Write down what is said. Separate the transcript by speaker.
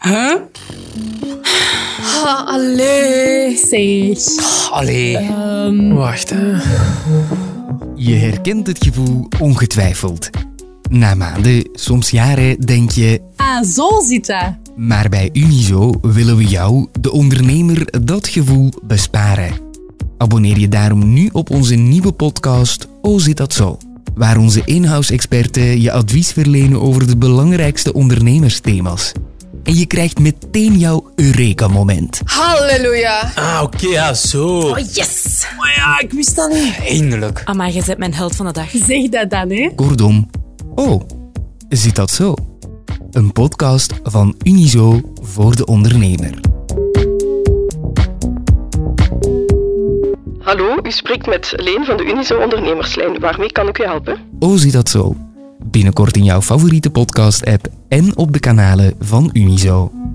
Speaker 1: Huh?
Speaker 2: Ah, allee.
Speaker 3: Zeg.
Speaker 1: Allee.
Speaker 4: Wacht, hè.
Speaker 1: Je herkent het gevoel ongetwijfeld. Na maanden, soms jaren, denk je...
Speaker 3: Ah, zo zit dat.
Speaker 1: Maar bij Unizo willen we jou, de ondernemer, dat gevoel besparen. Abonneer je daarom nu op onze nieuwe podcast O Zit Dat Zo? Waar onze in-house experten je advies verlenen over de belangrijkste ondernemersthema's. En je krijgt meteen jouw Eureka-moment.
Speaker 2: Halleluja.
Speaker 4: Ah, oké, ja, zo.
Speaker 2: Oh, yes.
Speaker 4: Maar ja, ik wist dat niet. Eindelijk.
Speaker 5: Amai, je bent mijn held van de dag.
Speaker 3: Zeg dat dan, hè.
Speaker 1: Kortom, Oh, Zit Dat Zo? Een podcast van Unizo voor de ondernemer.
Speaker 6: Hallo, u spreekt met Leen van de Unizo Ondernemerslijn. Waarmee kan ik u helpen?
Speaker 1: O Zit Dat Zo? Binnenkort in jouw favoriete podcast-app en op de kanalen van Unizo.